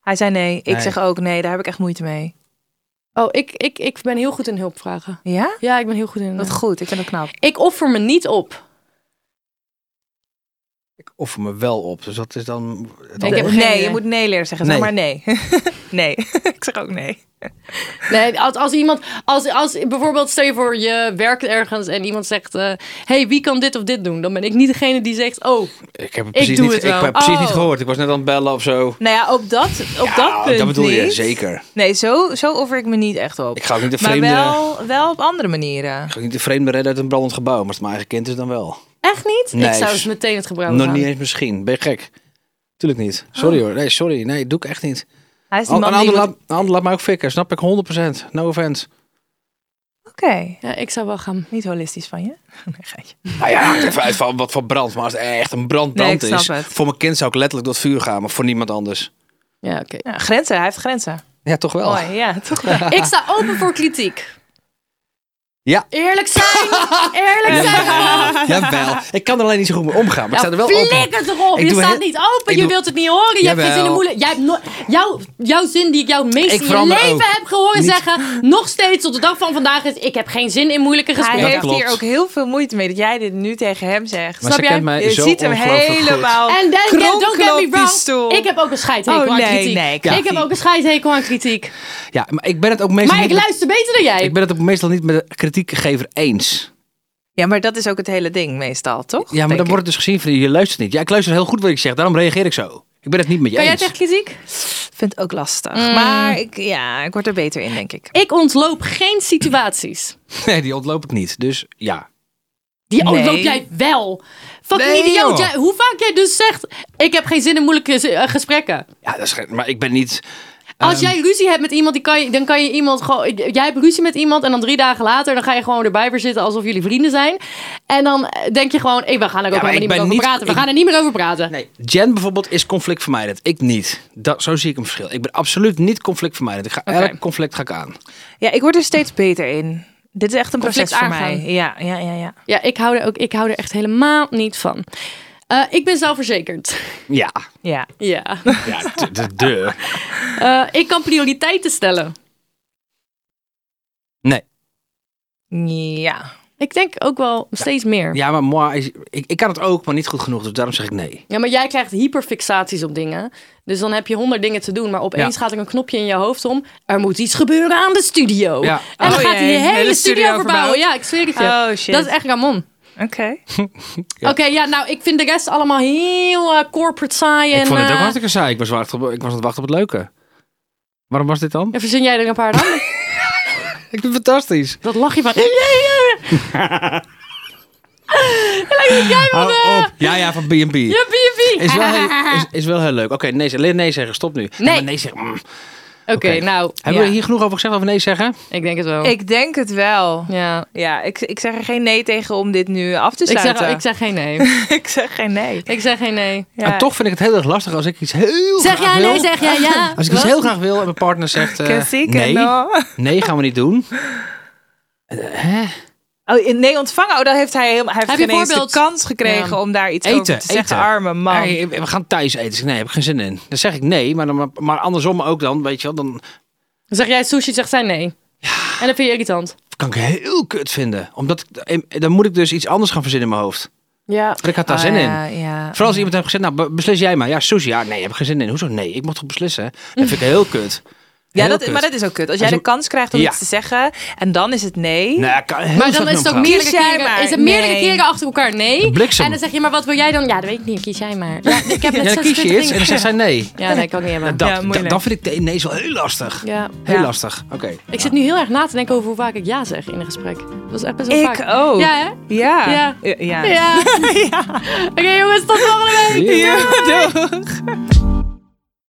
[SPEAKER 4] Hij zei nee. Ik
[SPEAKER 3] Nee.
[SPEAKER 4] zeg ook nee. Daar heb ik echt moeite mee.
[SPEAKER 2] Oh, ik, ik, ik ben heel goed in hulp vragen.
[SPEAKER 4] Ja?
[SPEAKER 2] Ja, ik ben heel goed in.
[SPEAKER 4] Wat goed. Ik vind dat knap.
[SPEAKER 2] Ik offer me niet op.
[SPEAKER 3] Ik offer me wel op. Dus dat is dan... Het
[SPEAKER 2] Ik heb geen
[SPEAKER 4] nee,
[SPEAKER 2] idee.
[SPEAKER 4] je moet nee leren zeggen. Zeg
[SPEAKER 3] Nee.
[SPEAKER 4] maar nee. nee. ik zeg ook nee.
[SPEAKER 2] Nee, als, als iemand, als, als bijvoorbeeld stel je voor je werkt ergens en iemand zegt, eh, hey, wie kan dit of dit doen? Dan ben ik niet degene die zegt, oh,
[SPEAKER 3] Ik heb het precies,
[SPEAKER 2] doe
[SPEAKER 3] niet,
[SPEAKER 2] het
[SPEAKER 3] ik
[SPEAKER 2] wel.
[SPEAKER 3] heb precies
[SPEAKER 2] Oh.
[SPEAKER 3] niet gehoord. Ik was net aan het bellen of zo.
[SPEAKER 4] Nou ja, op dat, op dat
[SPEAKER 3] Ja,
[SPEAKER 4] punt
[SPEAKER 3] dat bedoel je,
[SPEAKER 4] niet.
[SPEAKER 3] zeker.
[SPEAKER 4] Nee, zo, zo offer ik me niet echt op.
[SPEAKER 3] Ik ga ook niet de
[SPEAKER 4] maar
[SPEAKER 3] vreemde-
[SPEAKER 4] wel, wel op andere manieren.
[SPEAKER 3] Ik ga niet de vreemde redden uit een brandend gebouw. Maar als het mijn eigen kind is, dan wel.
[SPEAKER 2] echt niet? Ik
[SPEAKER 3] Nee,
[SPEAKER 2] zou
[SPEAKER 3] s-
[SPEAKER 2] dus meteen het gebruiken.
[SPEAKER 3] Nog niet eens misschien. Ben je gek? Tuurlijk niet. Sorry hoor. Nee, sorry. Nee, doe ik echt niet.
[SPEAKER 4] Hij Oh. is die
[SPEAKER 3] Oh, Een
[SPEAKER 4] man die...
[SPEAKER 3] ander, laat,
[SPEAKER 4] moet-
[SPEAKER 3] een ander laat mij ook fikken. Snap ik 100%. No offense.
[SPEAKER 4] Oké,
[SPEAKER 2] Ja, ik zou wel gaan.
[SPEAKER 4] niet holistisch van je. Nee, geitje.
[SPEAKER 3] Nou ja, het even uit van wat voor brand. Maar als het echt een
[SPEAKER 4] Nee,
[SPEAKER 3] brandbrand
[SPEAKER 4] ik snap
[SPEAKER 3] is.
[SPEAKER 4] het.
[SPEAKER 3] Voor mijn kind zou ik letterlijk door het vuur gaan. Maar voor niemand anders.
[SPEAKER 2] Ja, oké.
[SPEAKER 4] Ja, grenzen, hij heeft grenzen.
[SPEAKER 3] Ja, toch wel.
[SPEAKER 4] Mooi, ja, toch wel.
[SPEAKER 2] Ik sta open voor kritiek.
[SPEAKER 3] Ja.
[SPEAKER 2] Eerlijk zijn! Eerlijk zijn!
[SPEAKER 3] Jawel. Ik kan er alleen niet zo goed mee omgaan. Maar ik sta er wel open.
[SPEAKER 2] Nou, Flikker toch op!
[SPEAKER 3] Ik
[SPEAKER 2] Je
[SPEAKER 3] doe
[SPEAKER 2] staat
[SPEAKER 3] heel-
[SPEAKER 2] niet open,
[SPEAKER 3] ik
[SPEAKER 2] je
[SPEAKER 3] doe-
[SPEAKER 2] wilt het niet horen, je hebt geen
[SPEAKER 3] Jawel.
[SPEAKER 2] zin in moeilijk... Jij hebt no- jouw, jouw zin die ik jou het meest
[SPEAKER 3] Ik
[SPEAKER 2] in je
[SPEAKER 3] verander
[SPEAKER 2] leven
[SPEAKER 3] ook.
[SPEAKER 2] heb gehoord
[SPEAKER 3] Niet-
[SPEAKER 2] zeggen, nog steeds tot de dag van vandaag is... Ik heb geen zin in moeilijke
[SPEAKER 4] Hij
[SPEAKER 2] gesprekken.
[SPEAKER 3] Dat
[SPEAKER 4] heeft
[SPEAKER 3] klopt.
[SPEAKER 4] hier ook heel veel moeite mee dat jij dit nu tegen hem zegt.
[SPEAKER 3] Maar
[SPEAKER 4] Snap
[SPEAKER 3] ze
[SPEAKER 4] jij?
[SPEAKER 3] kent mij
[SPEAKER 4] je
[SPEAKER 3] zo
[SPEAKER 4] ziet hem
[SPEAKER 3] ongelooflijk goed.
[SPEAKER 4] helemaal
[SPEAKER 2] En dan don't get me
[SPEAKER 4] kronkelen op die stoel.
[SPEAKER 2] wrong, ik heb ook een scheidhekel
[SPEAKER 4] Oh,
[SPEAKER 2] aan
[SPEAKER 4] nee,
[SPEAKER 2] kritiek.
[SPEAKER 4] nee,
[SPEAKER 2] ik
[SPEAKER 4] kritiek.
[SPEAKER 2] heb ook een scheidhekel aan kritiek.
[SPEAKER 3] Ja, maar ik ben het ook meestal
[SPEAKER 2] Maar ik
[SPEAKER 3] niet met-
[SPEAKER 2] luister beter dan jij.
[SPEAKER 3] ik ben het ook meestal niet met de kritiekgever eens.
[SPEAKER 4] Ja, maar dat is ook het hele ding meestal, toch?
[SPEAKER 3] Ja, maar
[SPEAKER 4] Denk
[SPEAKER 3] dan
[SPEAKER 4] ik.
[SPEAKER 3] wordt het dus gezien van je luistert niet. Ja, ik luister heel goed wat ik zeg, daarom reageer ik zo. Ik ben het niet met je
[SPEAKER 2] Kan jij
[SPEAKER 3] eens.
[SPEAKER 2] tegen kritiek?
[SPEAKER 4] vind het ook lastig.
[SPEAKER 2] Mm.
[SPEAKER 4] Maar ik, ja, ik word er beter in, denk ik.
[SPEAKER 2] Ik ontloop geen situaties.
[SPEAKER 3] Nee, die ontloop ik niet. Dus ja.
[SPEAKER 2] Die
[SPEAKER 4] Nee.
[SPEAKER 2] ontloop jij wel. Fucking
[SPEAKER 3] Nee,
[SPEAKER 2] idioot.
[SPEAKER 3] joh.
[SPEAKER 2] Jij- hoe vaak jij dus zegt, ik heb geen zin in moeilijke z- eh, gesprekken.
[SPEAKER 3] Ja, dat is, ge- maar ik ben niet.
[SPEAKER 2] Als
[SPEAKER 3] Ehm,
[SPEAKER 2] jij ruzie hebt met iemand, die kan je, dan kan je iemand gewoon... ik- Jij hebt ruzie met iemand en dan drie dagen later... dan ga je gewoon erbij weer zitten alsof jullie vrienden zijn. En dan eh, denk je gewoon, eh, we gaan er ook
[SPEAKER 3] maar
[SPEAKER 2] helemaal
[SPEAKER 3] ik
[SPEAKER 2] niet
[SPEAKER 3] ben
[SPEAKER 2] meer over
[SPEAKER 3] niet-
[SPEAKER 2] praten. We
[SPEAKER 3] ik-
[SPEAKER 2] gaan er niet meer over praten.
[SPEAKER 3] Nee, Jen bijvoorbeeld is conflictvermijdend. Ik niet. Dat, zo zie ik een verschil. Ik ben absoluut niet conflictvermijdend. Ik ga elk conflict ga ik aan.
[SPEAKER 4] Ja, ik word er steeds beter in. Dit is echt een
[SPEAKER 2] Conflict
[SPEAKER 4] proces voor
[SPEAKER 2] aangaan.
[SPEAKER 4] mij. Ja, ja, ja, ja.
[SPEAKER 2] Ja, ik hou er, ook, ik hou er echt helemaal niet van. Eh, ik ben zelfverzekerd.
[SPEAKER 3] Ja.
[SPEAKER 4] Ja.
[SPEAKER 2] ja.
[SPEAKER 3] Ja, de, de, de.
[SPEAKER 2] Eh, ik kan prioriteiten stellen.
[SPEAKER 3] Nee.
[SPEAKER 4] Ja.
[SPEAKER 2] Ik denk ook wel steeds meer.
[SPEAKER 3] Ja, maar moi, is- ik, ik kan het ook, maar niet goed genoeg. Dus daarom zeg ik nee.
[SPEAKER 2] Ja, maar jij krijgt hyperfixaties op dingen. Dus dan heb je honderd dingen te doen. Maar opeens
[SPEAKER 3] Ja.
[SPEAKER 2] gaat er een knopje in je hoofd om. Er moet iets gebeuren aan de studio.
[SPEAKER 3] Ja.
[SPEAKER 2] En dan
[SPEAKER 4] Oh
[SPEAKER 2] gaat hij
[SPEAKER 4] jee,
[SPEAKER 2] de hele, studio,
[SPEAKER 4] hele studio
[SPEAKER 2] verbouwen.
[SPEAKER 4] verbouwd.
[SPEAKER 2] Ja, ik zweer het je.
[SPEAKER 4] Oh, shit.
[SPEAKER 2] Dat is echt Ramon.
[SPEAKER 4] Oké.
[SPEAKER 3] Ja.
[SPEAKER 2] Oké, ja, nou, ik vind de rest allemaal heel eh, corporate saai. en,
[SPEAKER 3] ik vond het ook
[SPEAKER 2] eh,
[SPEAKER 3] hartstikke saai. Ik was, wacht op, ik was aan het wachten op het leuke. Waarom was dit dan?
[SPEAKER 2] En verzin jij er een paar dan?
[SPEAKER 3] Ik vind het fantastisch.
[SPEAKER 2] Dat lach je van... Lijkt jij van... eh,
[SPEAKER 3] Ja, ja, van B&B.
[SPEAKER 2] je B&B.
[SPEAKER 3] Is wel, heel, is, is wel heel leuk. Oké, nee, zeggen. Leer nee zeggen. Stop nu. Ja,
[SPEAKER 2] Nee.
[SPEAKER 3] maar nee zeggen. mm.
[SPEAKER 2] Oké, nou,
[SPEAKER 3] Hebben
[SPEAKER 2] ja,
[SPEAKER 3] we hier genoeg over gezegd over nee zeggen?
[SPEAKER 2] ik denk het wel.
[SPEAKER 4] Ik denk het wel.
[SPEAKER 2] ja.
[SPEAKER 4] Ja, ik, ik zeg er geen nee tegen om dit nu af te
[SPEAKER 2] Ik zeg,
[SPEAKER 4] sluiten.
[SPEAKER 2] ik zeg geen nee.
[SPEAKER 4] zeg, geen nee.
[SPEAKER 2] Ik zeg geen nee.
[SPEAKER 4] Ja.
[SPEAKER 3] En Ah, toch vind ik het heel erg lastig als ik iets heel
[SPEAKER 2] Zeg
[SPEAKER 3] graag
[SPEAKER 2] jij
[SPEAKER 3] wil.
[SPEAKER 2] nee, zeg jij ja.
[SPEAKER 3] Als ik iets heel graag wil en mijn partner zegt eh,
[SPEAKER 4] Kan zeker,
[SPEAKER 3] nee,
[SPEAKER 4] no.
[SPEAKER 3] nee gaan we niet doen. Eh, hè?
[SPEAKER 4] Oh, in nee ontvangen. Oh, dan heeft hij helemaal. Hij heeft
[SPEAKER 2] Heb je
[SPEAKER 4] geen eens de
[SPEAKER 2] voorbeeld?
[SPEAKER 4] kans gekregen
[SPEAKER 2] Ja.
[SPEAKER 4] om daar iets over
[SPEAKER 3] Eten,
[SPEAKER 4] te zeggen.
[SPEAKER 3] eten.
[SPEAKER 4] Arme man.
[SPEAKER 3] Hey, we gaan thuis eten. Ik zeg, Nee, heb ik geen zin in. Dan zeg ik nee, maar, dan, maar andersom ook dan, weet je wel. Dan
[SPEAKER 2] Zeg jij sushi, zegt zij nee. En dat vind je irritant.
[SPEAKER 3] kan ik heel kut vinden. Omdat ik, dan moet ik dus iets anders gaan verzinnen in mijn hoofd.
[SPEAKER 2] Ja.
[SPEAKER 3] Want ik had daar
[SPEAKER 4] Ah,
[SPEAKER 3] zin in.
[SPEAKER 4] ja, ja.
[SPEAKER 3] Vooral als iemand heeft gezegd, nou be- beslis jij maar. Ja, sushi. Ja, nee, heb ik geen zin in. Hoezo? Nee, ik mocht toch beslissen? Dat vind ik heel kut.
[SPEAKER 4] Ja,
[SPEAKER 3] Heel
[SPEAKER 4] dat,
[SPEAKER 3] kut.
[SPEAKER 4] maar dat is ook kut. Als jij
[SPEAKER 3] Als je-
[SPEAKER 4] de kans krijgt om
[SPEAKER 3] Ja.
[SPEAKER 4] iets te zeggen en dan is het nee.
[SPEAKER 3] Nou, ik kan heel
[SPEAKER 2] Maar
[SPEAKER 3] slecht
[SPEAKER 2] dan
[SPEAKER 3] mee
[SPEAKER 2] is het ook
[SPEAKER 3] omgaan.
[SPEAKER 2] meerdere
[SPEAKER 4] Kies jij
[SPEAKER 2] keren,
[SPEAKER 4] maar.
[SPEAKER 2] is het meerdere
[SPEAKER 4] Nee.
[SPEAKER 2] keren achter elkaar nee.
[SPEAKER 3] Bliksem.
[SPEAKER 2] En dan zeg je, maar wat wil jij dan? Ja, dat weet ik niet. Kies jij maar. Ja, ik heb net
[SPEAKER 3] Ja, dan
[SPEAKER 2] zo'n
[SPEAKER 3] kies je
[SPEAKER 2] stuk
[SPEAKER 3] iets en dan zegt zij nee.
[SPEAKER 2] Ja, nee, kan ik niet hebben.
[SPEAKER 3] Dat,
[SPEAKER 4] Ja,
[SPEAKER 3] da-
[SPEAKER 4] moeilijk.
[SPEAKER 3] dan vind ik de ineens wel heel lastig.
[SPEAKER 2] Ja.
[SPEAKER 3] Heel
[SPEAKER 4] Ja.
[SPEAKER 3] lastig. Oké.
[SPEAKER 2] Ik zit nu heel erg na te denken over hoe vaak ik ja zeg in een gesprek. Dat is echt best wel vaak.
[SPEAKER 4] Ik ook.
[SPEAKER 2] Ja, hè?
[SPEAKER 4] Ja.
[SPEAKER 2] Ja.
[SPEAKER 4] Ja.
[SPEAKER 2] Ja. Oké jongens, tot volgende week.
[SPEAKER 3] Ja.
[SPEAKER 4] Ja, doeg.